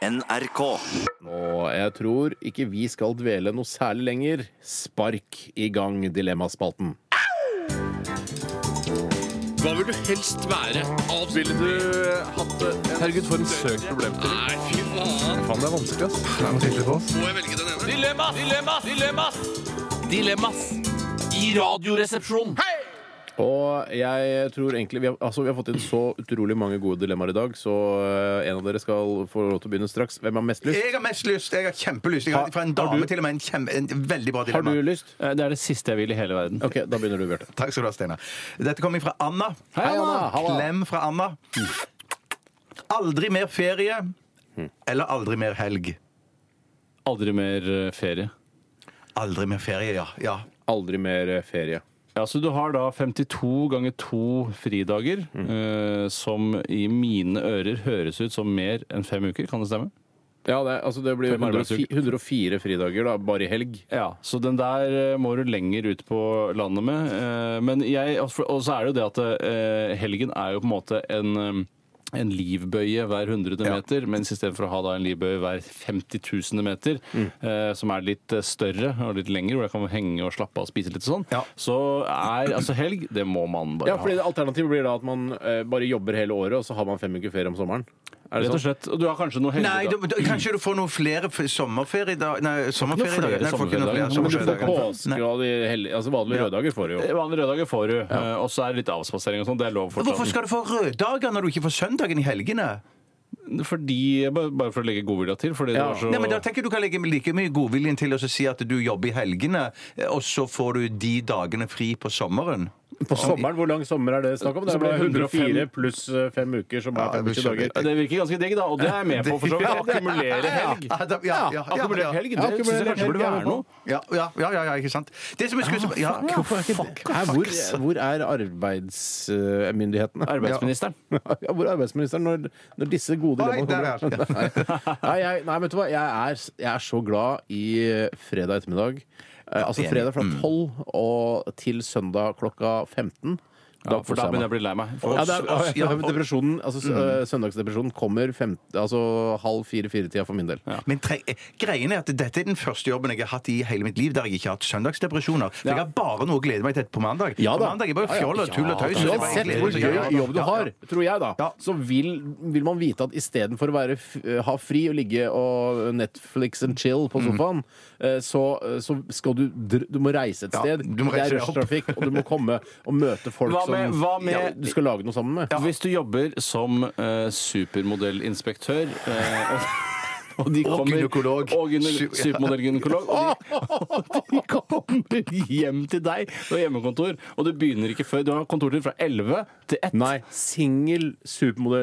NRK. Og jeg tror ikke vi skal dvele noe særlig lenger. Spark i gang Dilemmaspalten. Hva vil du helst være? Ville du Herregud, for en søk problem. Nei, fy faen. Faen, det er vanskelig, ass. Det er noe sikkert på oss. Må jeg velge den ene? Dilemmas! Dilemmas! Dilemmas! Dilemmas i Radioresepsjonen. Og jeg tror egentlig vi har, altså, vi har fått inn så utrolig mange gode dilemmaer i dag, så eh, en av dere skal få lov til å begynne straks. Hvem har mest lyst? Jeg har mest lyst. Jeg har kjempelyst. Jeg har, fra en dame til og med en, kjempe, en veldig bra Har dilemma. du lyst? Eh, Det er det siste jeg vil i hele verden. OK, da begynner du, Bjarte. Takk skal du ha, Steinar. Dette kommer fra Anna. Hei, Anna. Halla. Klem fra Anna. Aldri mer ferie eller aldri mer helg. Aldri mer eh, ferie. Aldri mer ferie, ja. ja. Aldri mer eh, ferie. Ja, så Du har da 52 ganger 2 fridager, eh, som i mine ører høres ut som mer enn fem uker. Kan det stemme? Ja, det, altså det blir Fem 104, 104 fridager, da, bare i helg. Ja, Så den der eh, må du lenger ut på landet med. Eh, Men jeg, og for- og så er det jo det at eh, helgen er jo på en måte en eh, en livbøye hver 100 meter, mens istedenfor å ha da en livbøye hver 50 000 meter, eh, som er litt eh, større og litt lengre, hvor jeg kan henge og slappe av og spise litt og sånn, Ja. så er altså helg Det må man bare Ja, fordi ha. det Alternativet blir da at man eh, bare jobber hele året, og så har man fem uker ferie om sommeren. Er det Rett og sånn? slett. Og du har kanskje noe Nei, helgedag. du, du, kanskje du får noen flere f- sommerferiedager Nei, flere sommerferiedager. Nei, du får ikke Men du noen flere sommerferiedager. får sommerferiedager. påske Nei. og de hellige Altså vanlige røddager får du jo. Vanlige røddager får du, eh, og så er det litt avspasering og sånn. Det er lov Hvorfor fortsatt. skal du få røddager når du ikke får søndagen i helgene? Fordi, bare bare for å legge godvilja til, fordi det Ja. var så Nei, men da tenker jeg Du kan legge like mye godviljen til å si at du jobber i helgene, eh, og så får du de dagene fri på sommeren. På sommeren, hvor lang sommer er det snakk om? Det Så er bare blir det 104 pluss eh, fem uker, som er Ja, det 50 blir dager. Ja, Det virker ganske digg, da, og det er jeg med på. for så vidt. Å Akkumulere helg. Ja, da- ja, ja, ja, ja. Akkumulere helg, Ja, det syns jeg akkumulere kanskje helg burde er være med noe. Ja, ja, ja, ja, ja, ikke sant? Det som jeg skulle ja, Hvorfor er ikke det? Her, hvor, hvor er eh, arbeidsmyndighetene? Arbeidsministeren. Ja, hvor er arbeidsministeren når, når disse gode Nei, dilemmaene der er kommer? Nei, nei, jeg, nei, vet du hva? Jeg er, jeg er så glad i fredag ettermiddag. Eh, altså enig. fredag fra 12 og til søndag klokka 15. Ja, for da begynner jeg å bli lei meg. For Ja, det er, Også- ja, ja, og- depresjonen, altså, s- eh, Søndagsdepresjonen kommer fem, altså, halv fire-fire-tida for min del. Men tre, eh, greien er at dette er den første jobben jeg har hatt i hele mitt liv der jeg ikke har hatt søndagsdepresjoner. For jeg har bare noe å glede meg til på mandag. Ja på da. mandag er bare fjoll og tull og tøys. og det er bare Uansett glede- hvor Ja, ja, gøy jobb du ja, ja. har, tror jeg, da, Ja. så vil, vil man vite at istedenfor å være, f- eh, ha fri og ligge og Netflix and chill på Mm. sofaen, eh, så, så skal du dr- Du må reise et Ja, sted. du må det reise er deg opp. rushtrafikk, og du må komme og møte folk Hva med- som hva med- ja, du skal lage noe sammen med. Hvis du jobber som eh, supermodellinspektør eh, og, og de Og kommer- gynekolog. Og gyne, Su- ja. supermodellgynekolog. Og, de- og de kommer hjem til deg. Du har hjemmekontor, og du begynner ikke før Du har kontortid fra 11 til 1. Nei. Singel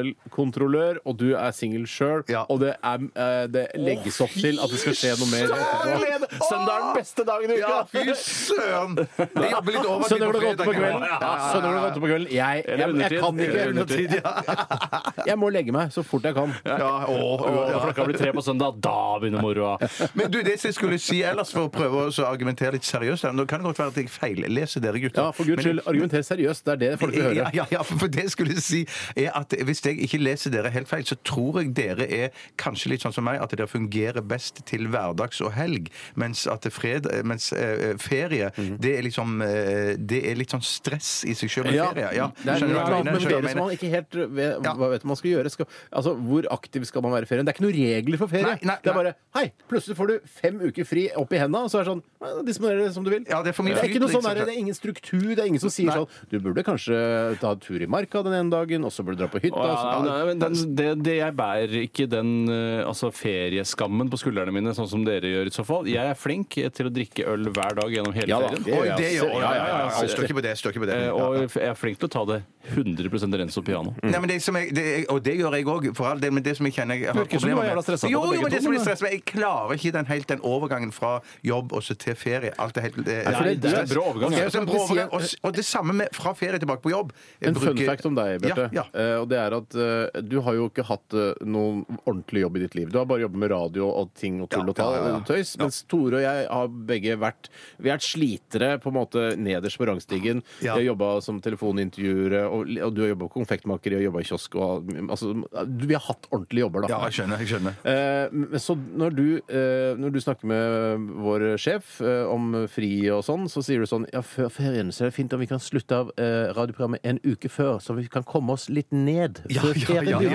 supermodellkontrollør, og du er singel sjøl, Ja. og det, er, eh, det legges opp til at det skal skje noe mer. etterpå. Søndag er den beste dagen i uka! Ja, fy søren! Jeg jobber litt over Søndag klokka åtte på kvelden. Søndag klokka åtte på kvelden. Jeg, jeg, jeg, undertid. kan Eller ikke. undertid, Jeg må legge meg så fort jeg kan. Ja, å, å, Og ja. klokka blir tre på søndag, da begynner moroa. Men du, det som jeg skulle si ellers, for å prøve å så argumentere litt seriøst her, Nå kan det godt være at jeg feilleser dere, gutter. Ja, for guds Men- skyld, argumenter seriøst. Det er det folk vil høre. Ja, ja, ja, for det jeg skulle si er at hvis jeg ikke leser dere helt feil, så tror jeg dere er kanskje litt sånn som meg, at dere fungerer best til hverdags og helg, mens at det fred, mens eh, ferie, det er liksom eh, det er litt sånn stress i seg selv med Ja. ferie. Ja, Det er noe skjønner du hva jeg mener? annet med Skjønner du hva jeg ferie som man mener? ikke helt vet, Ja. hva vet man skal gjøre. Skal, altså, hvor aktiv skal man være i ferien? Det er ikke noen regler for ferie. Nei, nei, det er bare nei. hei, plutselig får du fem uker fri opp i henda, og så er det sånn ja, disponer det som du vil. Ja, det er for mye flyt, ikke noe sånn liksom. der, det er ingen struktur, det er ingen som sier sånn Du burde kanskje ta en tur i marka den ene dagen, og så burde du dra på hytta. og så- Å, ja, nei, men den, det, det jeg bærer ikke den eh, altså ferieskammen på skuldrene mine, sånn som dere gjør i så fall. Jeg er flink til å drikke øl hver dag gjennom hele Ja da, ferien. det- Oi, det gjør Ja, ja, ja, ja, jeg. Står ikke på det, står ikke på det. Eh, Ja, Og ja. jeg er flink til å ta det 100 rens og piano. Nei, men det som jeg, det, og det gjør jeg òg, for all del. Men det som jeg kjenner jeg har Virker som du problemer var jævla med- stressa på Jo, begge jo, men to, det som blir men- stress med, Jeg klarer ikke den, helt den overgangen fra jobb og så til ferie. Alt er helt eh, det, for det- det er en stress. brå overgang, Og ja. så er det en brå overgang, og, s- og det samme med fra ferie tilbake på jobb. Jeg En fun bruker- fact om deg, Bjarte. Ja, ja. Eh, og det er at eh, du har jo ikke hatt eh, noen ordentlig jobb i ditt liv. Du har bare jobbet med radio og ting og tull Ja, og tall ja, ja, ja. og tøys. Mens Tore og jeg har begge vært Vi har vært slitere på en måte nederst på rangstigen. Ja. Vi har jobba som telefonintervjuere, og, og du har jobba konfektmaker, og jobba i kiosk og altså, du- Vi har hatt ordentlige jobber, da. ja, jeg skjønner. jeg skjønner Eh, Eh, men så når du, eh, når du snakker med vår sjef eh, om fri og sånn, så sier du sånn Ja, før ferien så er det fint om vi kan slutte av eh, radioprogrammet en uke før, så vi kan komme oss litt ned før ferien begynner.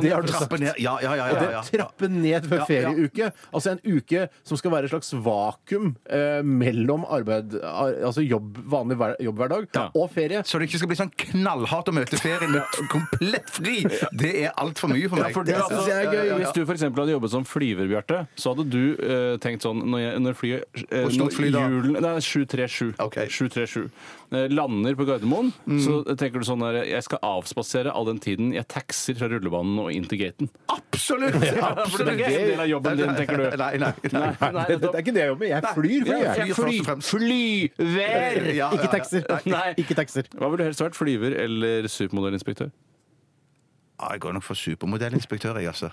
Det har du sagt. Trappe ned. Ja, ja, ja, Og ja, det ja. trappe ned ved Ja, ja. ferieuke. Altså en uke som skal være et slags vakuum eh, mellom arbeid, ar- altså jobb, vanlig hver, jobbhverdag Ja. og ferie. Så det ikke skal bli sånn knallhardt å møte ferien med komplett fri! Det er altfor mye for meg. for det Ja, synes jeg er ja, ja, gøy. ja, ja. Hvis du for eksempel hadde jobbet som flyver, Bjarte, så hadde du eh, tenkt sånn Når, jeg, når flyet eh, Hvor stort når fly da? hjulen- Nei, 737. Ok. 737 eh, lander på Gardermoen, så tenker du sånn der Jeg skal avspasere all den tiden jeg taxer fra rullebanen og inn til gaten. Absolutt! For det er ikke en del av jobben din, tenker du. Nei, nei. nei. Nei, nei, det, det er ikke det jeg jobber med. Jeg flyr, flyr Ja, jeg. flyr først og fly, fremst. flyver! Ja, ja, Ikke ja. taxer. Nei. Ikke taxer. Hva ville du helst vært? Flyver eller supermodellinspektør? Ja, Ah, Jeg går nok for supermodellinspektør, jeg, altså.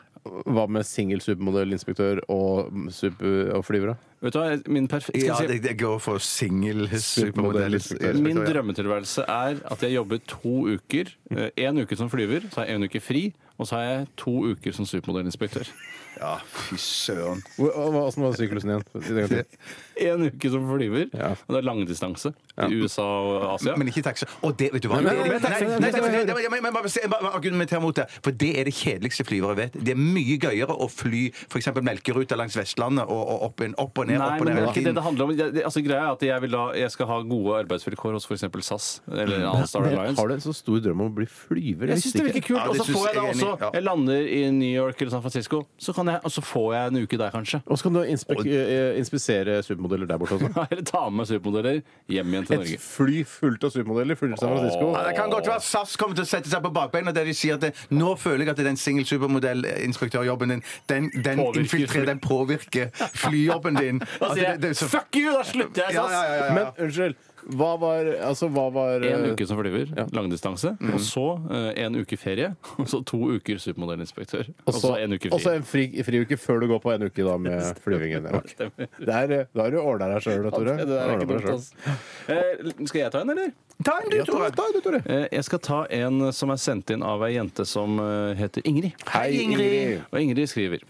Hva med singel supermodellinspektør og, super, og flyver, da? Vet du hva, min perf... Skal Ja, jeg si- jeg, jeg går for singel supermodellinspektør. Min drømmetilværelse er at jeg jobber to uker. Én uke som flyver, så har jeg en uke fri, og så har jeg to uker som supermodellinspektør. Ja, fy søren. Åssen var syklusen igjen? Én uke som flyver, Ja. og det er langdistanse til USA og Asia. Men ikke taxi. Og det, vet du hva Nei, Det- nei, nei, men taxi- nei, nei, nei, nei, Jeg må- jeg må bare si- jeg må bare argumentere mot det. For det er det kjedeligste flyvere vet. Det er mye gøyere å fly f.eks. Melkeruta langs Vestlandet og, og opp, en- opp og ned, Nei, opp og ned. hele men det er ikke det det tiden. handler om. Jeg, det, altså, greia er at jeg, vil da, jeg skal ha gode arbeidsvilkår hos f.eks. SAS eller en annen Star Alliance. Har du en så stor drøm om å bli flyver? Jeg syns det virker kult. Ja, Og det så synes får jeg da jeg er enig, også ja. Jeg lander i New York eller San Francisco, så kan jeg, og så får jeg en uke der, kanskje. Og så kan du inspe eh, inspisere supermodeller der borte også. Eller ta med supermodeller hjem igjen til Et Norge. fly fullt av supermodeller fullt av San Francisco. Ja, det kan godt være SAS kommer til å sette seg på bakbeina der de sier at det, nå føler jeg at den singel supermodellinspektørjobben din, den, den Påvirker. infiltrerer, den påvirker flyjobben din. Da At sier Altså, det- det er jeg så- fuck you! Da slutter jeg i Ja, ja, SAS! ja, ja, ja. Men unnskyld, hva var Altså, hva var eh, En uke som flyver, langdistanse, og så eh, en uke ferie, og så to uker supermodellinspektør, og så en uke og så ferie. en fri, friuke før du går på en uke da med flyvingen. Ja. Stemmer. Det er, eh, Da har du ordna deg sjøl, Det Tore. der er Ordnet ikke deg dumt, selv. altså. Eh, skal jeg ta en, eller? Ta en, du, Ja, Tore, Tore. ta det, Tore. Eh, jeg skal ta en som er sendt inn av ei jente som eh, heter Ingrid. Hei, Ingrid. Og Ingrid skriver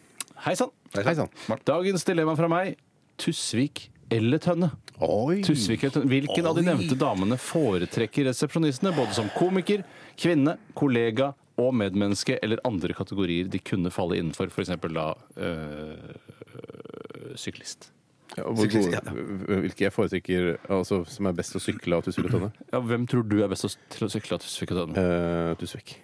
Hei sånn. sann. Hei sann. Dagens dilemma fra meg Tusvik eller Tønne. Oi. Tusvik eller Tønne. Hvilken av de nevnte damene foretrekker resepsjonistene, både som komiker, kvinne, kollega og medmenneske eller andre kategorier de kunne falle innenfor, f.eks. da øh, syklist? Ja, hvor Syklist, gode- Hvilke jeg foretrekker altså, som er best å sykle av Tusvik og Tønne? Ja, hvem tror du er best til å sykle av Tusvik og Tønne? Eh, Tusvik.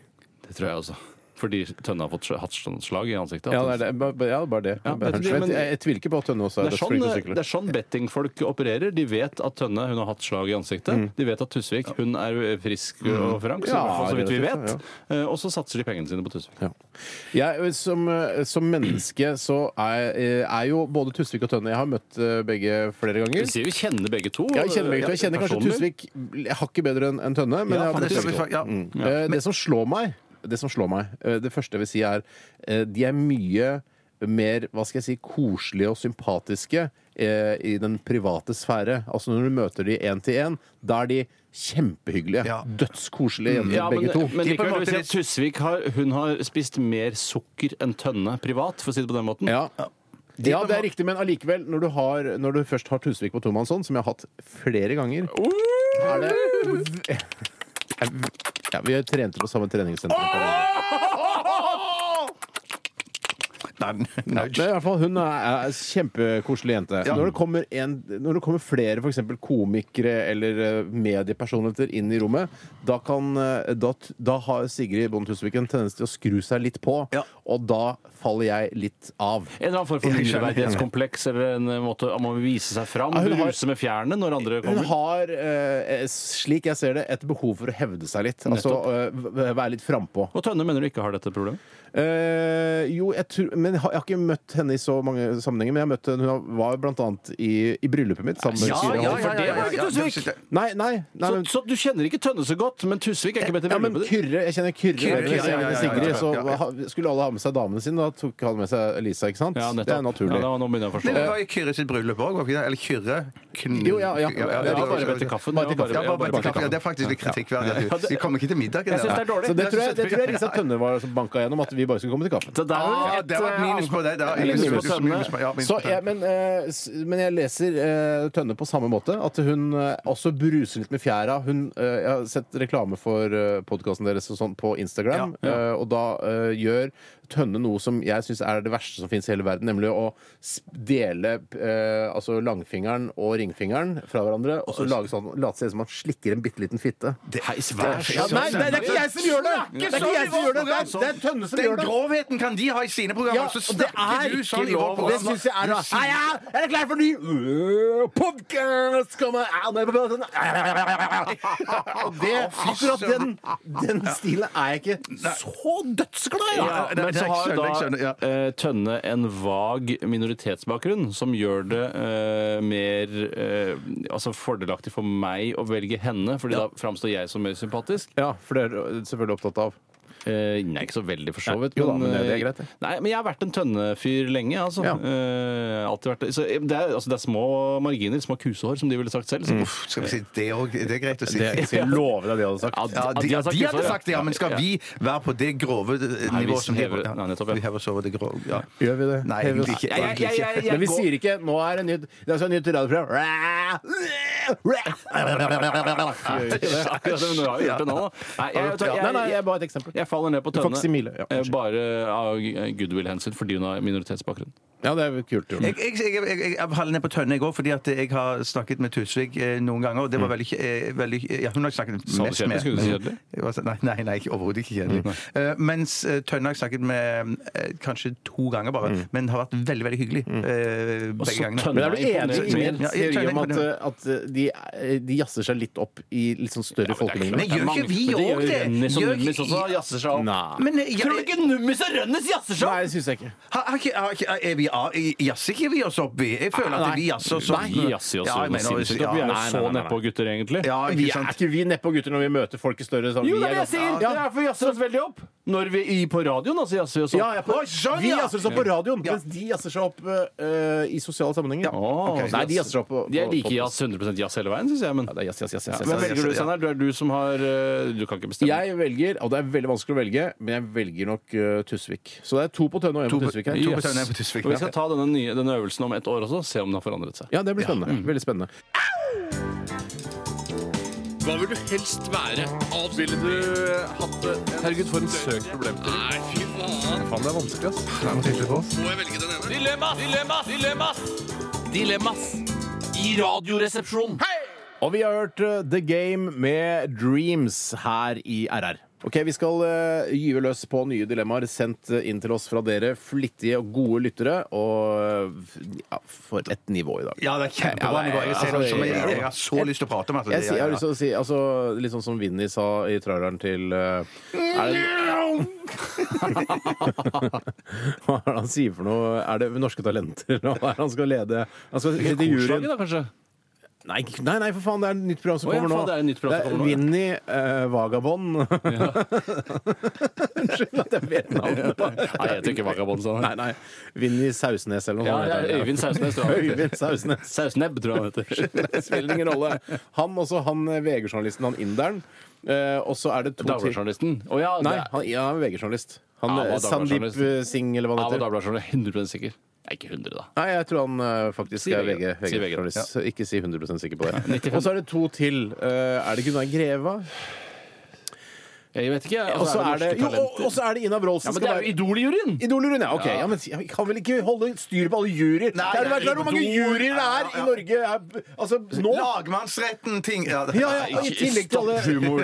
Det tror jeg også. Fordi Tønne har fått sl- hatt sånn slag i ansiktet. Ja, at det er det. Ba- ba- ja, bare det. Ja, Bare men- hunch. men- jeg, jeg, tviler ikke på at Tønne også er Det er, best sånn, flink til å det sykle. er sånn bettingfolk opererer. De vet at Tønne hun har hatt slag i ansiktet. De vet at Tusvik hun er frisk og frank, Mm. så, Ja, i hvert fall så vidt vi relativt, vet. Eh, Og så satser de pengene sine på Tusvik. Ja. Jeg, som, eh, som menneske så er, eh, er jo både Tusvik og Tønne Jeg har møtt eh, begge flere ganger. Du sier vi kjenner begge to. Ja, Jeg kjenner, begge to. jeg kjenner kanskje personlig. Tusvik hakket bedre enn enn Tønne. Men Ja, jeg har Ja, det møtt skal vi begge to. fa- ja. Mm. Eh, Det som slår meg, det som slår meg, eh, det første jeg vil si er eh, de er mye mer hva skal jeg si, koselige og sympatiske eh, i den private sfære. Altså Når du møter de én til én, da er de kjempehyggelige. Ja. Mm. Dødskoselige jenter, Ja, men, begge to. men De på en likevel vil måte jeg si at Tusvik har, hun har spist mer sukker enn Tønne privat, for å si det på den måten. Ja. ja, det er riktig, men allikevel, når du, har, når du først har Tusvik på tomannshånd, som jeg har hatt flere ganger Er det ja, Vi trente på samme treningssenter. Nei, Ja, men i hvert fall, hun er, er en kjempekoselig jente. Ja. Når, det kommer en, når det kommer flere for eksempel komikere eller eh, mediepersonligheter inn i rommet, da, kan, eh, da, t- da har Sigrid Bonde Tusvik en tendens til å skru seg litt på, Ja. og da faller jeg litt av. En eller annen form for Jeg skjønner. mindreverdighetskompleks eller en måte om å vise seg fram. Ja, hun Hun har- ruser med fjærene når Hun andre kommer. har, eh, slik jeg ser det, et behov for å hevde seg litt. Nettopp. Altså eh, v- v- være litt frampå. Og Tønne mener du ikke har dette problemet? Eh, jo, jeg, tror, men jeg har jeg har ikke møtt henne i så mange sammenhenger, men jeg har møtt henne, hun var blant annet i, i bryllupet mitt sammen med Ja, Siri ja, Hall. ja, for det var ikke Tusvik. Nei, nei, nei Så, men, så du kjenner ikke Tønne så godt, men Tusvik er ikke med til ja, men bryllupet? ditt? Kyrre, jeg kjenner Kyrre, Kyrre, bedre, ja, så ja, ja, ja, jeg kjenner ja, ja, Sigrid, ja, ja. så ha- skulle alle ha med seg damene sine, da tok han med seg Lisa, ikke sant? Ja, nettopp. det er naturlig. Ja, da, nå begynner jeg Det å forstå. var i Kyrre sitt bryllup òg, var ikke det? Eller Kyrre? Kn- Jo, ja, ja. Ja, Jeg det var var- bare bedt til kaffen. Bare til Jeg var kaffe. Ja, bare bare- bedt til kaffe. Ja, det er faktisk litt kritikkverdig. at du- Vi kommer ikke til middag. i Jeg syns det dag. er dårlig. Så det tror jeg, det tror jeg Lisa Tønne var som banka gjennom, at vi vi bare skulle komme til kaffe. Så der var Ah, et, det var et eh, minus på deg. da. Minus på Minus- tønne. minus på- ja, minus Så på tønne. jeg, men, eh, s- men jeg leser eh, Tønne på samme måte. At hun eh, også bruser litt med fjæra. Hun, eh, jeg har sett reklame for eh, podkasten deres og sånn på Instagram. eh, og da eh, gjør Tønne noe som jeg syns er det verste som fins i hele verden. Nemlig å s- dele eh, altså langfingeren og ringfingeren fra hverandre. Og så lage sånn, late seg som man slikker en bitte liten fitte. Hei, svær Ja, nei, nei, det er ikke jeg som gjør det! Det er ikke jeg som gjør det, det er, det er Tønne som Den gjør det. grovheten kan de ha i sine programmer, Ja, så og det er snakker du sånn ikke i vårt lov. Det program. syns jeg er Du noe. sier- Hei, ja, er dere klare for ny øh, podcast? Skal man- ja, nå er jeg på plassen. Og det, akkurat den, den stilen er jeg ikke så dødsglad i! Ja, det- men det- så jeg har skjønner, jeg skjønner, da ja. eh, Tønne en vag minoritetsbakgrunn som gjør det eh, mer eh, altså fordelaktig for meg å velge henne, fordi da framstår jeg som mer sympatisk. Ja, for det er selvfølgelig opptatt av. Eh, nei, ikke så veldig, for så Nei, vidt. eh, jo da, men det- det er greit, det. Nei, men jeg har vært en tønnefyr lenge, altså. Ja. Eh, alltid vært det. Så eh, det er, altså, det er små marginer, små kusehår, som de ville sagt selv. Så, uff, Skal vi si det òg? Det er greit å si. skal love deg det hadde sagt. Ja, ja, de, de, kusehår, hadde sagt det, ja, men skal vi være på det grove eh, Nei, vi nivået som de hever- ja. nei, nettopp, ja. Vi hever oss over det grove. Ja. Gjør vi det? Nei, Hever oss- egentlig ikke. Ja, ja, Egentlig ja, ja, ikke. ja. Men vi sier ikke 'nå er det nytt'. Det er altså nytt radioprogram. Det er akkurat det, men du har jo gjort det nå, da. Nei, jeg, Nei, jeg, nei, jeg, jeg er bare et eksempel. Jeg faller ned på får ikke si tønne. Mille. Ja, eh, unnskyld. bare av eh, goodwill-hensyn, fordi hun har minoritetsbakgrunn. Ja, det er jo kult. Jeg, jeg, jeg, jeg, jeg faller ned på tønne, jeg òg, fordi at jeg har snakket med Tusvik eh, noen ganger. og det var veldig, eh, veldig ja, Hun har jeg snakket Mm. Sa du mest kjedelig? med. Skulle du si kjedelig? Mm, Jeg var sånn, Nei, nei, nei ikke- overhodet ikke kjedelig. Eh, mens eh, Tønne har jeg snakket med eh, kanskje to ganger bare, men har vært veldig veldig hyggelig eh, begge Mm. så gangene. Tønne Men jeg er du enig i min Ja, jeg teori om tror at, eh, det. at de, eh, de jazzer seg litt opp i litt sånn større folkemengder? Men gjør ikke vi òg det? Rønnis og Gjør Nummis ikke- også jazzer seg opp. Nei, Men eh, Tror du ikke Nummis og Rønnis jazzer seg Nei opp? det syns jeg ikke. Har- har ikke- har ikke- Er vi a- Jazzer ikke vi oss opp, vi? Jeg føler Nei. at vi jazzer oss opp. Vi jazzer oss Ja, jeg opp mener, sinnssykt opp. Vi ja, er jo nei, så nei, nei, nei. nedpå gutter, egentlig. Ja, Vi ikke er sant? ikke vi nedpå gutter når vi møter folk i større sånn, Jo, vi det er det jeg ganske- sier! Ja. Ja, for jazzer oss veldig opp. Når vi i, på radioen, altså, jazzer vi oss opp. Ja, ja, på, Oi, sånn, vi ja! jazzer oss opp på radioen, Ja. mens de jazzer seg opp eh, i sosiale sammenhenger. Å, Ok. Nei, de jazzer seg opp på, på Jeg liker på- jazz 100 jazz hele veien, syns jeg. Men Ja, det er jazz, jazz, jazz, jazz, Hvem jazz, velger du, jazz, jazz. Steinar? Du er du som har eh, Du kan ikke bestemme. Jeg velger, og det er veldig vanskelig å velge, men jeg velger nok eh, Tusvik. Så det er to på Tønne og én To på på- Tusvik her. to på Yes. Tønne, på Tusvik. Og vi skal ta denne, nye, denne øvelsen om et år også, se om den har forandret seg. Ja, det blir spennende. Veldig spennende. Hva vil du helst være? Avspille Ville du eh, hatt det? Herregud, for en søkt problemstilling. Nei, fy faen. Faen, det er vanskelig, ass. Det er noe tilfelle på oss. Må jeg velge den ene? Dilemmas! Dilemmas! Dilemmas! Dilemmas. I radioresepsjonen. Og vi har hørt eh, The Game med Dreams her i RR. Ok, Vi skal eh, gyve løs på nye dilemmaer sendt eh, inn til oss fra dere flittige og gode lyttere. Og eh, ja, for et nivå i dag. Ja, det er Ja, kjempebra det er- nivå. Jeg, ser altså, det som- jeg, det er- jeg har så lyst til å prate om det. Jeg, sier- jeg har lyst til å si altså, litt sånn som Vinni sa i traileren til eh, er det, Hva er det han sier for noe? Er det Norske Talenter? Hva er det han skal lede? Han skal sitte i juryen. Korslaget, da, kanskje? Nei, ikke- nei, nei, for faen, det er et nytt program som Å ja, kommer nå. faen, det er et nytt program som kommer nå, ja. Vinni eh, Vagabond. Unnskyld at jeg vet navnet. Nei, jeg heter ikke Vagabond. Sånn. Nei, nei. Vinni Sausnes eller noe Ja, sånt. ja, heter han. Øyvind Sausnes, tror jeg. Øyvind Sausnes. Sausnebb, tror jeg han heter. Det spiller ingen rolle. Han også, han eh, VG-journalisten, han inderen. Eh, og så er det to til Dagbladjournalisten. Å ja, Nei, det- han, ja, han er VG-journalist. Han Ja, han var eh, Sandeep eh, Dagbladet-journalist. Singh, eller hva han jeg var heter. Dagbladjournalist 100 sikker. Jeg er ikke 100, da. Nei, jeg tror han eh, faktisk Si er VG. VG. Si VG, VG-journalist. ja. Så Ikke si 100 sikker på det. 95. Og så er det to til. Eh, er det Gunnar Greva? Jeg vet ikke. altså, Og så er det, jo, og, og så er det Ina Wroldsen. ja, skal men det er jo være- Idol-juryen! Idol-juryen, ja. ok. Ja, men jeg kan vel ikke holde styr på alle juryer? Nei, Kan du være klar over hvor mange Idol- juryer det er i Norge er, altså, nå? Lagmannsretten, ting ja, det- Ja, ja, og i tillegg til alle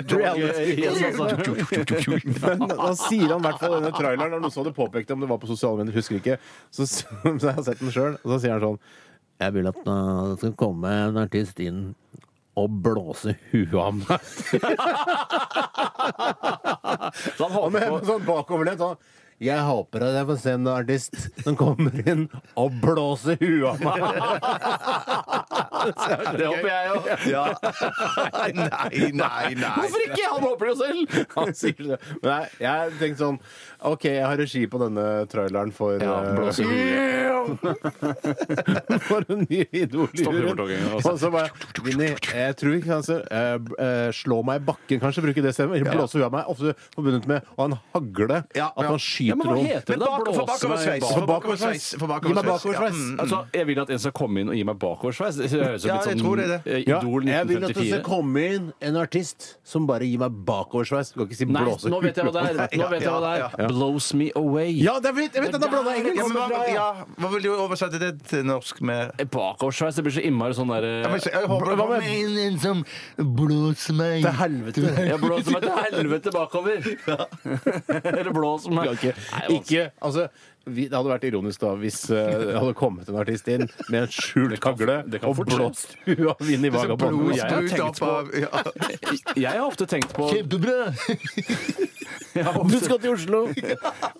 Men altså. da sier han i hvert fall denne traileren, og noen som hadde påpekt det, om det var på sosiale medier, husker ikke, så, så jeg har sett den sjøl, og så sier han sånn Jeg vil at uh, det skal komme en artist inn og blåse huet av meg. Så han Og med håper på en sånn bakoverlent sånn Jeg håper at jeg får se en artist som kommer inn og blåser huet av meg. Det håper jeg òg. Ja. Nei, nei, nei. Hvorfor ikke? Han håper det jo selv! Han sier det. Men jeg, jeg tenkte sånn OK, jeg har regi på denne traileren for eh, blåser For en ny Stopper idol overtogingen, altså. Og så bare Vinni, jeg tror ikke kanskje eh, b- eh, Slå meg i bakken, kanskje, bruke det stemmet. Blåse huet av meg. Ofte forbundet med å ha en hagle. Ja, At ja. man skyter syter men hva om. heter Men bak, for bakoversveis! bak- For bakoversveis! for Gi meg bakoversveis. Ja, mm. Altså, jeg vil at en skal komme inn og gi meg bakoversveis. Det høres ut Ja, jeg litt tror sånn det er eh, Ja, Idol jeg vil at det skal 1954. komme inn en artist som bare gir meg bakoversveis. Du kan ikke si Nei, blåse. nå vet jeg hva det er! Nå vet jeg hva det Ja, er. Blows me away. Ja, det er fint! Jeg vet at det er blanda Ja, men engelsk! hva, ja, hva vil du oversette det til norsk med Bakoversveis, det blir så innmari sånn Ja, men derre så- jeg håper det Hva kommer med- inn en som blåser meg Til helvete! eh, Jeg blåser meg til helvete bakover! Eller blåser meg Ikke, Nei, vanskelig. ikke altså vi, Det hadde vært ironisk da hvis eh, det hadde kommet en artist inn med en skjult kagle det kan og fort skje. blåst hua inn i vagabonden. Blod Jeg har sprut tenkt opp av ja. Jeg har ofte tenkt på Kjempebra! jeg har Du ofte, skal til Oslo!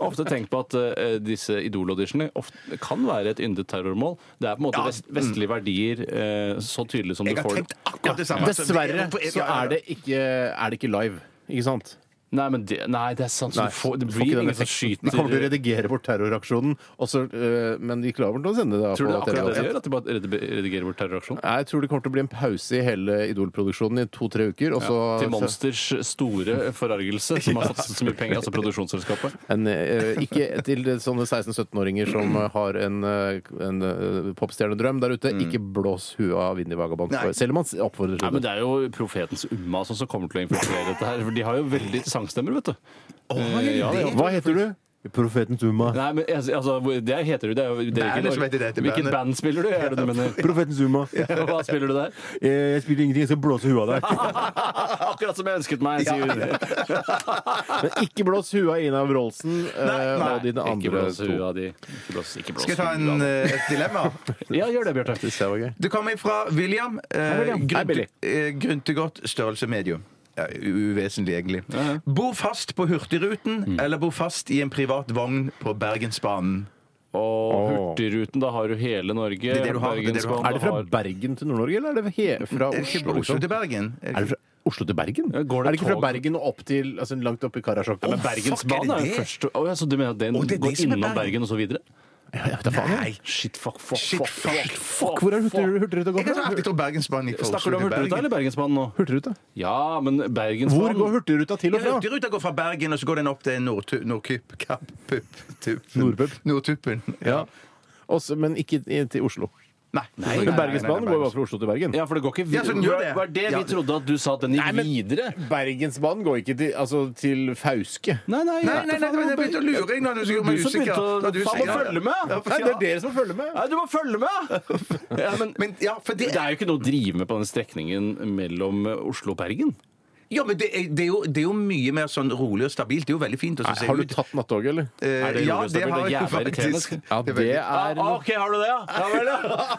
ofte tenkt på at eh, disse Idol-auditionene ofte kan være et yndet terrormål. Det er på en måte vest, vestlige verdier eh, så tydelig som du Jeg har får tenkt akkurat det samme. altså. Dessverre Hvorfor så er det ikke, er det ikke live. Ikke sant? Nei, men det, nei, det er sant. så Nei, du får, det du får ikke blir den ingen som effekten. Vi kommer til å skyter redigere bort terroraksjonen, og så, øh, men vi klarer vel til å sende det da Tror du det er på akkurat det de TV? gjør? At de bare redi- redigerer bort terroraksjon? Nei, Jeg tror det kommer til å bli en pause i hele Idol-produksjonen i to-tre uker. Og så Til Monsters store forargelse, som har satset så mye penger, altså produksjonsselskapet. en, øh, ikke til det- sånne 16-17-åringer som øh, har en, øh, en øh, popstjernedrøm der ute. Ikke blås huet av Vinni Vagabond. Nei. Selv om han s- oppfordrer Nei, til men det. Det er jo profetens umma altså, som kommer til å infiltrere dette her. For de har jo veldig sangstemmer, vet du. Eh, ja, det er jo- Hva heter du? Profeten Zuma. Nei, men jeg- altså, hvor- det heter du det. Er, jo- det er Bandet som heter det, det er hvilket bandet. band spiller du? Er det du mener? Profeten Zuma. Hva spiller du der? Jeg spiller ingenting, jeg skal blåse huet av deg. Akkurat som jeg ønsket meg, sier hun. Men ikke blås huet av Ina Wroldsen øh, Nei, og dine ikke andre blås huet to. av de. Ikke blås, ikke blås Skal jeg ta en, huet av eh, et dilemma? de. Ja, gjør det, Bjarte. Det var gøy. Det kommer fra William. Eh, William. Hei, Billy. Gryntegodt, størrelse medium. Ja, u- uvesentlig, egentlig. Bo fast på Hurtigruten, Mm. eller bo fast i en privat vogn på Bergensbanen. Og Hurtigruten, da har du hele Norge. er det du har, det er det du har. Bergensbanen, Er det fra da har- Bergen til Nord-Norge, eller er det he- fra Er det Oslo? ikke Oslo liksom? til Bergen? Er det fra Oslo til Bergen? Ja, går det er det ikke tog- fra Bergen og opp til altså, langt opp i Karasjok? Men Å, Bergensbanen er jo det? først Å, ja, Så du mener at den Å, det er det går som er innom Bergen. Bergen og så videre? jeg vet da faen, jeg. Nei. Shit, fuck, fuck, Shit, fuck, fuck, fuck, Fuck, hvor er Hurtigru- Hurtigruta Jeg går kan fra? alltid tro Bergensbanen gikk fra Snakker Oslo du om til Hurtigruta Bergen. eller Bergensbanen nå? Hurtigruta. Ja, men Hvor Bergensbanen går Hurtigruta til og fra? Hurtigruta går fra Bergen, og så går den opp til Nordtu- Nordkypp Kapp, Pupp, Tuppen. Nordpupp. Nordtuppen. Ja. Også, men ikke i- til Oslo. Nei. nei, nei, Men Bergensbanen går jo nei, nei, bare fra Oslo til Bergen. Ja, for det går ikke Ja, så den gjør det. Var det vi Ja. trodde at du sa at den gikk Nei, men- videre? Bergensbanen går ikke til, altså, til Fauske. Nei, nei, Nei, nei, nei, jeg begynte å lure inn. Du, Du som begynte å- faen, må følge med. Nei, det er dere som følger med! Nei, du må følge med! Ja, men, Men, ja, for det, det er jo ikke noe å drive med på den strekningen mellom eh, Oslo og Bergen. ja, men det, er, det, er jo, det er jo mye mer sånn rolig og stabilt. Det er jo veldig fint. å Nei, se har du ut. tatt nattoget, eller? Eh, Er det ja, rolig det og stabilt? har Det er jeg jo jævla irriterende. altså. faktisk. Ja, Det er det veldig- er noe- ah, OK, har du det, ja? Ja vel,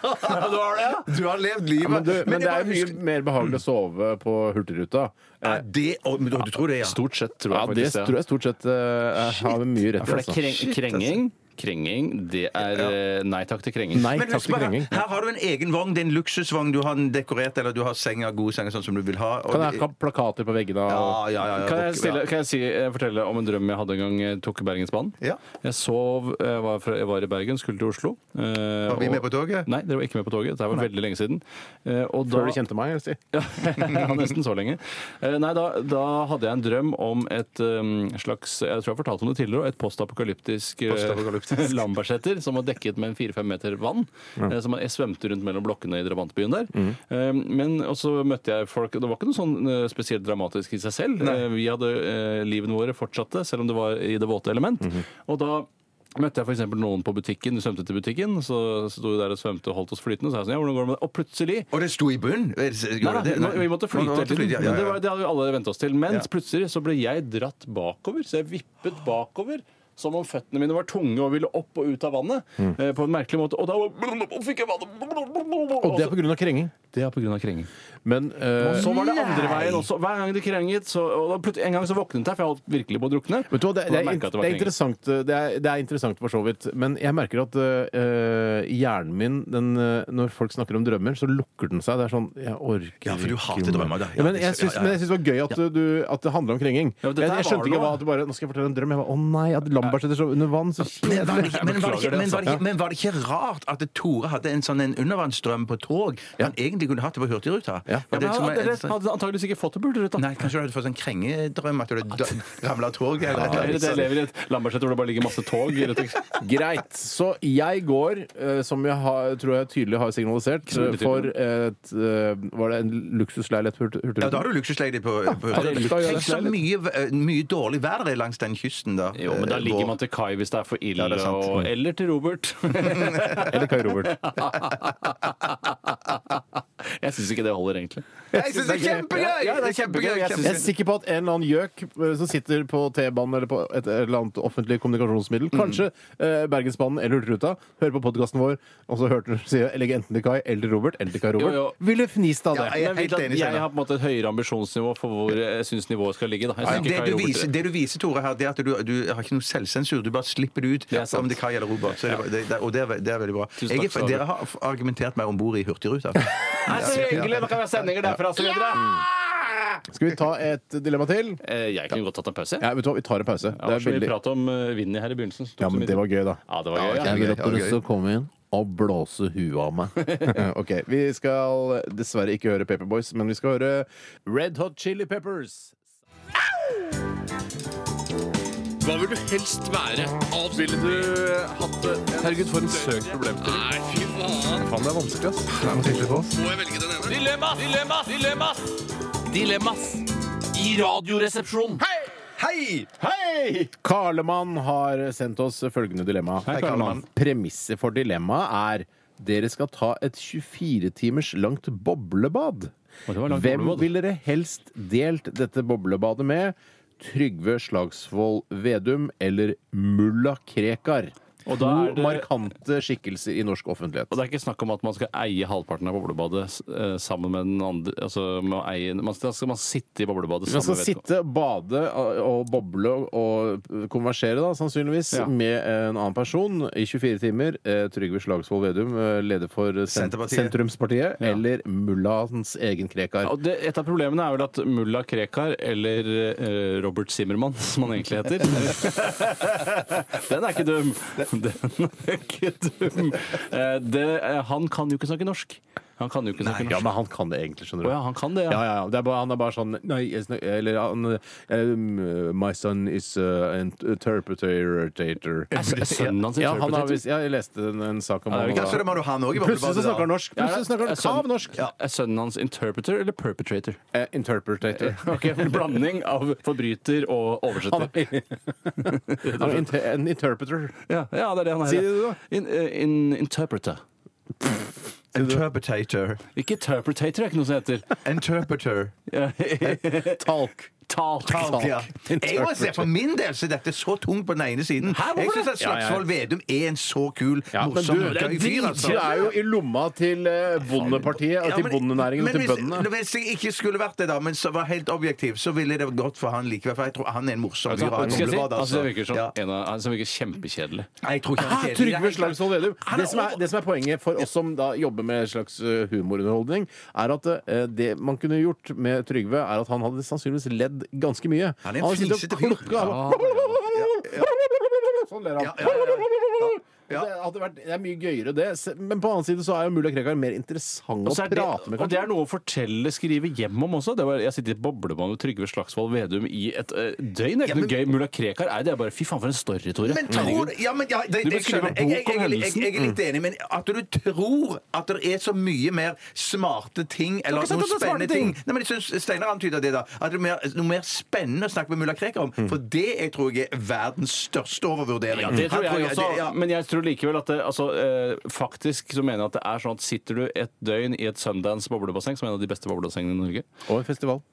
ja. ja du har det, ja? Du har levd livet. Ja, men, du, men det jeg er bare mye husker- mer behagelig å sove på Hurtigruta. Ja, det, å, men du, du tror det, ja? Stort sett, tror Ja, jeg det faktisk. ja. tror jeg stort sett eh, har mye rett i. For det Altså. er kreng, krenging. Krenging, det er eh, nei takk til krenging. Nei Men takk husk til bare, krenging. her har du en egen vogn. Det er en luksusvogn. Du har den dekorert, eller du har senga, gode senger, sånn som du vil ha. og Kan det- jeg ha plakater på veggene? ja, Og... ja, ja, ja, Kan jeg, dere- stille, kan jeg si, eh, fortelle om en drøm jeg hadde en gang jeg tok Bergensbanen? Ja. Jeg sov, jeg var, fra, jeg var i Bergen, skulle til Oslo. eh, Var vi og- med på toget? Nei, dere var ikke med på toget. Det var veldig lenge siden. Eh, og da- Før du kjente meg? jeg vil Si. Ja, nesten så lenge. Eh, Nei, da, da hadde jeg en drøm om et um, slags Jeg tror jeg fortalte om det tidligere også, et postapokalyptisk Postapokalyptisk. lambersetter som var dekket med en fire-fem meter vann. eh, Som jeg svømte rundt mellom blokkene i drabantbyen der. Eh, Men og så møtte jeg folk Det var ikke noe sånn eh, spesielt dramatisk i seg selv. Eh, Vi hadde eh, livene våre fortsatte, selv om det var i det våte element. Og da Møtte jeg for eksempel noen på butikken, du svømte til butikken, så sto vi der og svømte og holdt oss flytende, og så sa jeg sånn, ja, hvordan går det med det? Og plutselig Og det sto i bunn? Gjorde Nei, det? nei, vi, vi måtte flyte hele tiden. Ja, ja, ja. Det, var, det hadde jo alle vent oss til. Men Ja. plutselig så ble jeg dratt bakover, så jeg vippet bakover. Som om føttene mine var tunge og ville opp og ut av vannet. eh, På en merkelig måte. Og da var- fikk jeg vannet Og det er pga. krenging. Det er pga. krenging. Men eh, Så var det andre veien også. Hver gang det krenget, så og da plut- En gang så våknet jeg, for jeg holdt virkelig på å drukne. Vet du hva, det, Og da det, er, merket jeg at det, det var er krenging. interessant, eh, det, er, det er interessant for så vidt, men jeg merker at eh, hjernen min den, eh, Når folk snakker om drømmer, så lukker den seg. Det er sånn Jeg orker Ja, for du ikke hater mer. drømmer, da. Ja, Ja, men det- jeg syns, ja, ja. men jeg syns det var gøy at, du, at det handla om krenging. Ja, men dette jeg, her jeg skjønte var ikke noe. hva at du bare Nå skal jeg fortelle en drøm. Jeg var, Å nei, at Lambertseter sov under vann. Så Men var, det ikke, men, var det beklager ikke, det, men, var det altså. ikke, men var det ikke rart at Tore hadde en sånn en undervannsdrøm på tog? Han egentlig ting de kunne hatt på Hurtigruta. Ja. Og Ja, men som han er- sånn- dere hadde antageligvis ikke fått det på Hurtigruta. Nei, kanskje du hadde fått en krengedrøm at du ramla av toget? eller- Eller at jeg lever i et Lambertseter hvor det bare ligger masse tog. rett og slett. Greit. Så jeg går, eh, som jeg har, tror jeg tydelig har signalisert, eh, Kjempetydelig. for et eh, Var det en luksusleilighet på Hurt- Ja, da Hurtigruten? har du luksusleie på, på det er Hurtigruten. luksusleie. Tenk så mye, eh, mye dårlig vær det er langs den kysten, da. Jo, men da ligger man til kai hvis Eh, det er for ille, Ja, det er sant. og, eller til Robert. Eller Kai Robert? jeg syns ikke det holder, egentlig. Jeg syns det er kjempegøy! Ja, det er kjempegøy. Jeg Jeg er sikker på at en eller annen gjøk eh, som sitter på T-banen eller på et eller annet offentlig kommunikasjonsmiddel, kanskje eh, Bergensbanen eller Hurtigruta, hører på podkasten vår, og så hørte hun si legge enten til Kai eller til Robert eller til Kai Robert. jo. Ville fnist av det. Ja, jeg- er Men helt vit at enig, Jeg Steinar. har på en måte et høyere ambisjonsnivå for hvor jeg syns nivået skal ligge. Da. Jeg synes Men ikke Altså, det, Kai du Robert- viser, det du viser, Tore, her, det er at du, du har ikke noe selvsensur. Du bare slipper det ut. er sant. om det er Kai eller Robert. Så det, var- det, det, og det er, ve- det er veldig bra. Jeg, Tusen takk er- skal du ha. dere har f- argumentert meg om bord i Hurtigruta. Nei, så hyggelig! Da kan vi ha sendinger derfra, så videre. Mm, Mm. Skal vi ta et dilemma til? Eh, Jeg kunne godt tatt en pause. jeg. Ja, vet du hva, Vi tar en pause. Det var Det så er mye veldig... prat om eh, Vinni her i begynnelsen. så tok Ja, så mye men det var gøy, da. Ja, det var gøy. Ja, Ja. ok. Jeg vil at det var du gøy. skal komme inn og blåse huet av meg. ok, Vi skal dessverre ikke høre Paperboys, men vi skal høre Red Hot Chili Peppers. Hva vil du helst være? Avspille Ville du hatt det? Herregud, for en søkt problemstilling. Nei, fy faen. Faen, det er vanskelig, ass. Det er noe sikkert på oss. Må jeg velge den ene? Dilemmas! Dilemmas! Dilemmas! Dilemmas i Radioresepsjonen. Hei! Hei! Karlemann har sendt oss følgende dilemma. Hei, Karlemann. Premisset for dilemmaet er dere skal ta et 24 timers langt boblebad. Å, det var langt Hvem boblebad. vil dere helst delt dette boblebadet med? Trygve Slagsvold Vedum eller mulla Krekar? Og To da er det- markante skikkelser i norsk offentlighet. Og det er ikke snakk om at man skal eie halvparten av boblebadet eh, sammen med den andre altså med å eie, man, skal, skal man sitte i boblebadet Man sammen skal med vedkommende. sitte, bade og- og boble og konversere, da, sannsynligvis, Ja. med en annen person i 24 timer. Eh, Trygve Slagsvold Vedum, eh, leder for sen Senterpartiet. Sentrumspartiet, eller mullaens egen Krekar. Ja, og det, et av problemene er vel at mulla Krekar, eller eh, Robert Zimmermann, som han egentlig heter Den er ikke dum! Den er ikke dum. Eh, det, eh, han kan jo ikke snakke norsk. Han kan jo ikke snakke Ja, norsk. men han kan det egentlig, skjønner Å du. ja, han kan det, ja. Ja, ja, ja. Det er bare, han er bare sånn Nei, jeg snak- eller han um, My son is uh, an interpreter tater. Er s- er sønnen hans Ja, han har, interpreter? visst- ja, jeg leste en, en sak om Ja, det er han, jo Ja, så og- det må du ha noe i Plutselig så boblebadet, snakker han da. norsk! Plutselig snakker han Er sønnen- kav norsk! Ja. Er sønnen hans interpreter eller perpetrator? Eh, Interpretator. Ok, En blanding av forbryter og Han oversetter. er, han er inter, en interpreter. Ja, ja, det er det han er. Si det du da. In, eh, in, interpreter. Interpretator. Ikke interpretator, er ikke noe som heter. Interpreter. Ja. Talk. Talk. Alt, ja. Jeg må si, For min del så er dette så tungt på den ene siden. hvorfor Jeg syns det? at Slagsvold Vedum er en så kul, Ja, men morsom, du, det er gøy fyr. altså. Du er jo i lomma til eh, bondepartiet, Ja, til men- bondenæringen og men til hvis- bøndene. Hvis jeg ikke skulle vært det, da, men så var helt objektiv, så ville det gått for han likevel. For jeg tror han er en morsom fyr. Skal han jeg si? Boblebad, Altså, det virker Ah, som Ja. en av, altså, det virker kjempekjedelig. Nei, jeg tror ikke han Hæ, er kjedelig. Trygve Slagsvold Vedum. Han er Det, som er- det som er poenget for oss som da jobber med en slags eh, humorunderholdning, er at eh, det man kunne gjort med Trygve, er at han hadde sannsynligvis ledd ganske mye. Han er en hadde sittet fnisete og fyr. klukka, og- Sånn ler han. Ja, ja, ja, ja. Ja. Det, hadde vært, det er mye gøyere, det. Se- Men på annen side så er jo mulla Krekar mer interessant Og, å så er det, prate med. og det er noe å fortelle, skrive hjem om også. Det var, jeg sitter i boblebad med Trygve Slagsvold Vedum i et eh, døgn. Det er ikke noe gøy. Mulla Krekar er det er bare Fy faen, for en story, Tore. Men tror ja, men, ja, det, det, Du bør jeg, skjønner. skrive jeg, bok jeg, om jeg, jeg, hendelsen. jeg er litt enig, men at du tror at det er så mye mer smarte ting eller ikke sagt noen at det er smarte spennende ting. Nei, men jeg synes Steinar antyder det, da. At det er mer, noe mer spennende å snakke med mulla Krekar om. For det jeg tror jeg er verdens største overvurdering. Mm. Ja, det tror Han jeg også, det- ja. men jeg tror likevel at det, altså, eh, faktisk så mener jeg at det er sånn at sitter du et døgn i et Sundance boblebasseng, som er en av de beste boblebassengene i Norge Og en festival.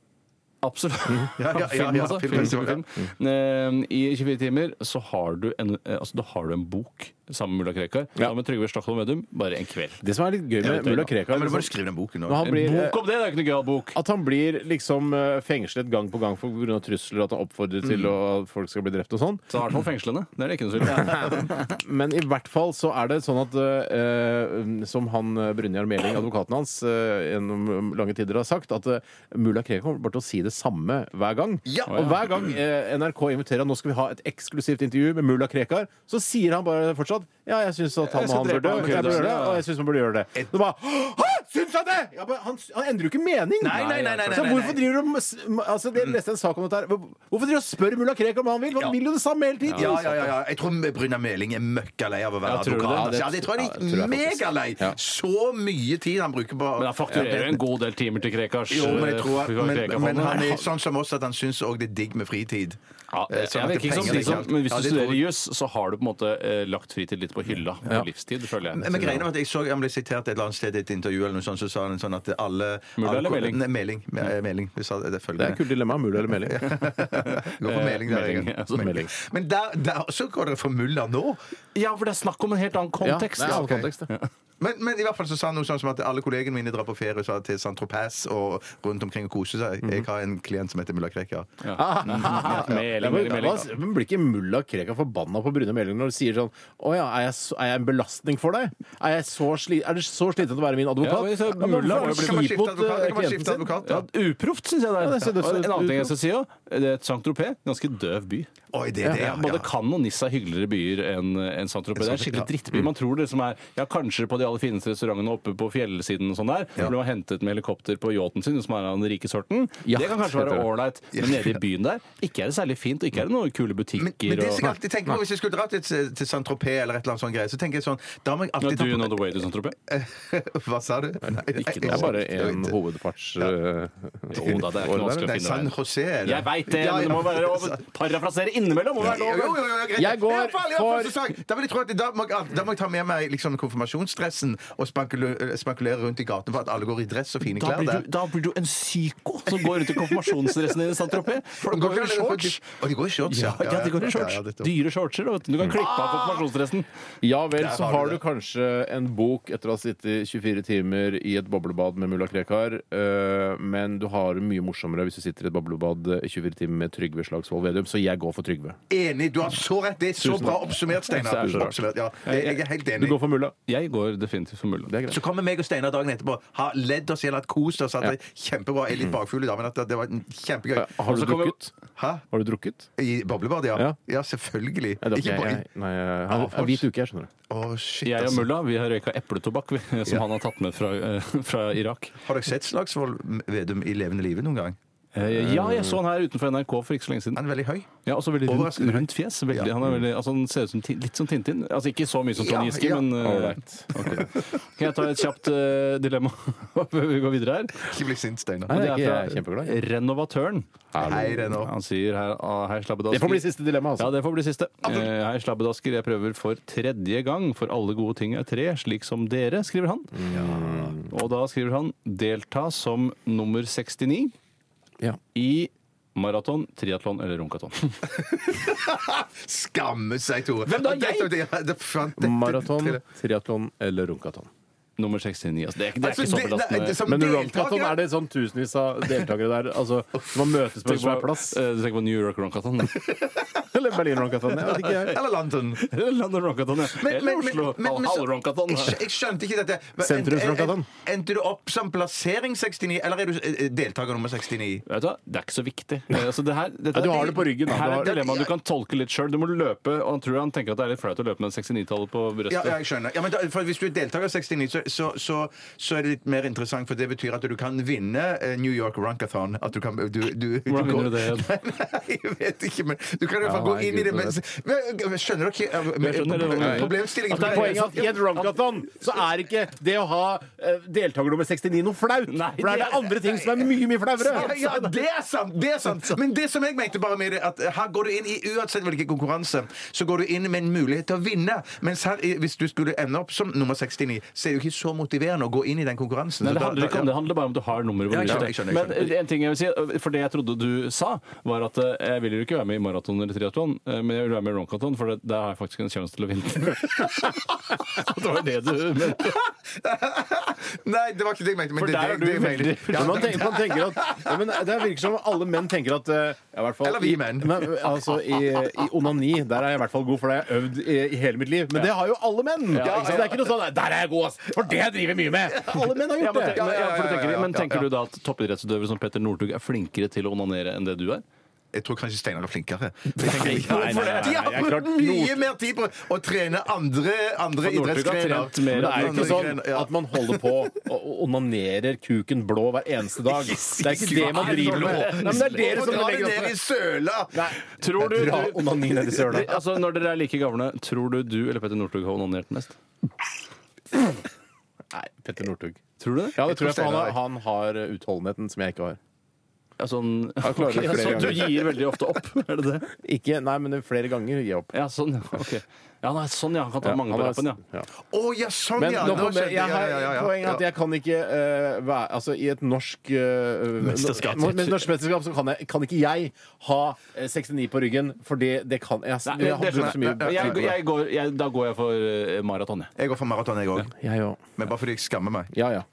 Absolutt. Mm. Ja, ja, ja, film, ja, altså. film, film, Film, film. Eh, I 24 timer så har du en, eh, altså, da har du en bok sammen med mulla Krekar. Ja. Og med Trygve Slagsvold Vedum bare en kveld. Det som er litt gøy med mulla Krekar Ja, men du liksom- må jo skrive den boken nå. Når han En blir, eh, eh, bok om det! Det er jo ikke noe gøy å ha bok. At han blir liksom eh, fengslet gang på gang pga. trusler, at han oppfordrer til å- at folk skal bli drept og sånn. Så i hvert fall fengslende. Det er det ikke noe tvil om. Men i hvert fall så er det sånn at eh, som han eh, Brynjar Meling, advokaten hans, eh, gjennom lange tider har sagt, at eh, mulla Krekar kommer bare til å si det samme hver gang. Ja. Og hver gang eh, NRK inviterer han, nå skal vi ha et eksklusivt intervju med mulla Krekar, så sier han bare fortsatt ja, jeg syns at han Jeg og skal han drepe burde han, jeg burde gjøre det, ja. og jeg syns man burde gjøre det. Så bare, «Hæ? Syns han det?! Ja, men han, han endrer jo ikke mening! Nei, nei, nei, nei, nei, så nei, hvorfor nei. driver du og s- altså, det, leste en sak om dette her. Hvor- Hvorfor driver du og spør mulla Krekar om hva han vil? Han vil jo det samme hele tiden! Ja, ja, ja, ja. Jeg tror Bryna Meling er møkkalei av å være Ja, tror du det? advokat. Ja, det- Ja, det tror jeg ja, det de tror er jeg faktisk. megalei! Ja. Så mye tid han bruker på Men han fakturerer jo en god del timer til Krekars. Jo, men jeg tror at, eh, men, Krekarfondet. men han er sånn som oss at han syns òg det er digg med fritid. Ja, Eh, sånn jeg at vet det ikke som penger de ikke som, alt. men hvis Ja, du det tror studerer jeg. juss, så har du på en måte eh, lagt fritid litt på hylla på livstid, føler jeg. Men greiene var at jeg så han ble sitert et eller annet sted i et intervju, eller noe sånt, så sa han sånn at alle Mulla alle- eller Meling? Mm. Nei, Meling. Me- Meling. Vi sa det, det følger Det er et med. kult dilemma. Mulla eller meling. Går for Meling der, Meling, jeg. altså, Meling. Men der, der så går dere for mulla nå. Ja, for det er snakk om en helt annen kontekst. Ja, det er annen ok. kontekst, ja. Men, men i hvert fall så sa han noe sånn som at alle kollegene mine drar på ferie så til Saint-Tropez og rundt omkring og koser seg. Jeg har en klient som heter mulla Krekar. Ja, Ja, Meling, men, meling, meling. hva- men blir ikke mulla Krekar forbanna på Brune Meling når du sier sånn Å ja, er jeg, så, er jeg en belastning for deg? Er, jeg så sli, er det så slitsomt å være min Ja, advokat? men så- men mulla hvorfor er jo blitt- Kan man kjip skifte mot, advokat? eh, Kan man skifte klienten sin? advokat Ja, da? uproft, syns jeg det er. Ja, det er så- det er så- Og en annen ting jeg uproft. skal si òg. Det er Saint-Tropez. Ganske døv by. Oi, det er det, ja. Både ja. Cannes og Nice er hyggeligere byer enn enn Saint-Tropez. Det er en skikkelig ja. Mm. drittby. Man tror det som er ja, kanskje på de aller fineste restaurantene oppe på fjellsiden og sånn der, hvor du har hentet med helikopter på yachten sin, som er av den rike sorten. Yacht, det kan kanskje heter være det. ålreit, men nede i byen der ikke er det særlig fint, og ikke er det noen kule butikker Men, men det som jeg og alltid tenker på Hvis jeg skulle dratt til, til Saint-Tropez eller et eller annet sånt greie, så tenker jeg sånn Da må jeg ja, alltid Do you ta know the way to Saint-Tropez? på Hva sa du? Nei, nei, Ikke Det noe. er bare jeg- jeg- en eh, jeg- hovedfarts... Jo da, det er ikke noe vanskelig Nei, å finne San veien. José. eller? Jeg veit det, Ja, men det må ja. være lov å parafrasere innimellom! Må være Jo, jo, jo, lov. jo, greit. Jeg går I hvert fall, i hvert fall, for- så sa jeg, Da vil jeg tro at da må, jeg- da må jeg ta med meg liksom, konfirmasjonsdressen og spankule- spankulere rundt i gaten for at alle går i dress og fine Da klær blir, der. du, da blir du en psyko som går rundt i konfirmasjonsdressen din i Saint-Tropez. For Og da går jo i ikke- shorts. Og de går i shorts, Ja, ja, det går i shorts. Ja, ja, det- Dyre shortser. da, vet Du Du kan klippe av konfirmasjonsdressen. Ja vel, Der så har du har du det. kanskje en bok etter å ha sittet 24 timer i et boblebad med mulla Krekar, eh, men du har det mye morsommere hvis du sitter i et boblebad i 24 timer med Trygve Slagsvold Vedum, så jeg går for Trygve. Enig! Du har så rett! Det er så Tusen bra takk. oppsummert, Steinar. Det er så rart. Oppsummert, ja. Jeg, jeg er helt Du enig. går for mulla. Jeg går definitivt for mulla. Det er greit. Så kommer meg og Steinar dagen etterpå, har ledd oss i hjel, hatt kost oss, hatt det kjempebra. Jeg er litt bakfull i dag, men at det det var kjempegøy. Eh, Har du så kommer- drukket? Hæ? Har du drukket? I boblebadet, ja. Ja. Ja, selvfølgelig. Nei, det Ikke har ikke bare jeg. jeg- Nei, jeg har jeg har hvit uke, jeg skjønner det. Å, shit, Jeg og altså. mulla vi har røyka epletobakk vi, som han har tatt med fra, eh, fra Irak. Har dere sett Slagsvold Vedum i levende livet noen gang? Eh, Ja, jeg så han her utenfor NRK for ikke så lenge siden. Han er veldig høy. Ja, også veldig rundt, Overraskende. rundt fjes. Veldig, han, er veldig, altså, han ser ut som, Tin- litt som Tintin. Altså ikke så mye som Trond Ja, Giske, ja. men eh, Kan jeg ta et kjapt eh, dilemma før vi går videre her? Ikke bli sint, Steinar. Nei, det er Og ikke jeg fra er kjempeglad i. Renovatøren. Hei, det nå. Han sier her, ah, her slabbedasker. Det får bli siste dilemma, altså. Ja, det får bli siste. Eh, hei, slabbedasker. Jeg prøver for tredje gang, for alle gode ting er tre, slik som dere, skriver han. Og da skriver han delta som nummer 69 Ja. i maraton, triatlon eller runkaton. Skamme seg, Tore. Hvem da? Og dette- Jeg? det- det- det- faen, det- det- Maraton, det- triatlon eller runkaton? Nummer 69. Altså, det er, ikke- det er Altså, ikke så det- belastende. det- det- som Men runkaton deltaker- er det sånn tusenvis av deltakere der. Altså, man møtes på en Tenk svær på- plass. eh, Du tenker på New York Runkaton? Eller Berlin runkaton. Jeg vet ikke, jeg. Eller London. Eller London Runkaton, ja. Eller Oslo. Halv Runkaton. jeg, skj- jeg skjønte ikke dette. Men- Sentrumsrunkaton. en- en- Endte du opp som plassering 69, eller er du eh, deltaker nummer 69? Vet du hva? Det er ikke så viktig. Eh, Altså, det her, dette Ja, du er- har det på ryggen, da. Her Du er har- et dilemma du kan tolke litt sjøl. Du må løpe, og han tror han tenker at det er litt flaut å løpe med 69-tallet på brystet. Ja, ja, jeg skjønner. Ja, men da, for hvis du er deltaker 69, så, så, så, så er det litt mer interessant, for det betyr at du kan vinne eh, New York Runkathon. At du kan, du, du, Hvordan går- vinner du det igjen? Nei, jeg vet ikke, men du kan i hvert fall Ja, gå inn i det. nei, Men, men, skjønner dere eh, men- skjønner det, ja, ja. problemstillingen? At det er Poenget er at i et runkaton så er ikke det å ha eh, deltaker nummer 69 noe flaut. Nei, For det er det det er- andre ting som er mye, mye flauere. Ja, ja, det er sant! det er sant Men det som jeg mente bare med det, at her går du inn i uansett hvilken konkurranse, så går du inn med en mulighet til å vinne. Mens her, i- hvis du skulle ende opp som nummer 69, så er det jo ikke så motiverende å gå inn i den konkurransen. Så Nei, det da- handler ikke om det. Det handler bare om at du har nummeret på Ja, jeg skjønner, brystet. jeg skjønner, jeg skjønner. Men en ting jeg vil si, for det jeg trodde du sa, var at eh, jeg vil jo ikke være med i maraton eller triatlon, eh, men jeg vil være med i runkaton, for det- der har jeg faktisk en sjanse til å vinne. det var det du mente. Nei, det var ikke det jeg mente. Men For det, der det, er du det, jeg veldig- mente. Ja, Men man tenker, man tenker at, ja, men det virker som alle menn tenker at eh, ja, i hvert fall, Eller vi i- menn. Nei, altså, i, I onani der er jeg i hvert fall god, for det har jeg øvd i, i hele mitt liv. Men det har jo alle menn! Ja, så det er ikke noe sånn "Nei, 'der er jeg god', ass! For det driver jeg mye med! Alle menn har Ja, gjort men, det. tenk- men, ja, for Ja, ja, du ja, tenker, ja, men ja, tenker ja. du da at toppidrettsutøvere som Petter Northug er flinkere til å onanere enn det du er? Jeg tror kanskje Steinar er flinkere. Jeg tenker, nei, nei, nei, nei, De har jeg har klart brukt mye mer tid på å trene andre, andre Northug har idrettsgrener. trent mer Men Det er jo andre ikke sånn grener, ja. at man holder på og onanerer kuken blå hver eneste dag. Det er ikke det man driver med. Nei, men det er dere som Dra det sånn legger opp ned i søla! Tror du, Dra onani ned i søla. altså, når dere er like gamle, tror du du eller Petter Northug har onanert mest? Nei, Petter Northug. Tror du det? Ja, det tror jeg, for han har, Steinar- han har utholdenheten som jeg ikke har. Altså, han- klarer Ok, det flere altså, du ganger. gir veldig ofte opp, er det det? Ikke, nei, men flere ganger gir jeg opp. Ja, sånn, ja. ok. Ja, nei, sånn, ja. Han kan ta mange han på er- rappen, ja. ja. Å ja, sånn Men ja! nå nå kommer- skjønte jeg. jeg har Ja, ja, ja, poenget at ja. jeg kan ikke eh, være Altså, i et norsk eh, Mesterskap. no- men norsk mesterskap så kan, jeg, kan ikke jeg ha eh, 69 på ryggen, for det, det kan jeg, Nei, jeg har det- brukt så mye jeg, jeg, tid på det. går, jeg, da går jeg for eh, maraton, jeg. Jeg går for maraton, jeg òg. Jeg òg. Men bare fordi jeg skammer meg. Ja, ja.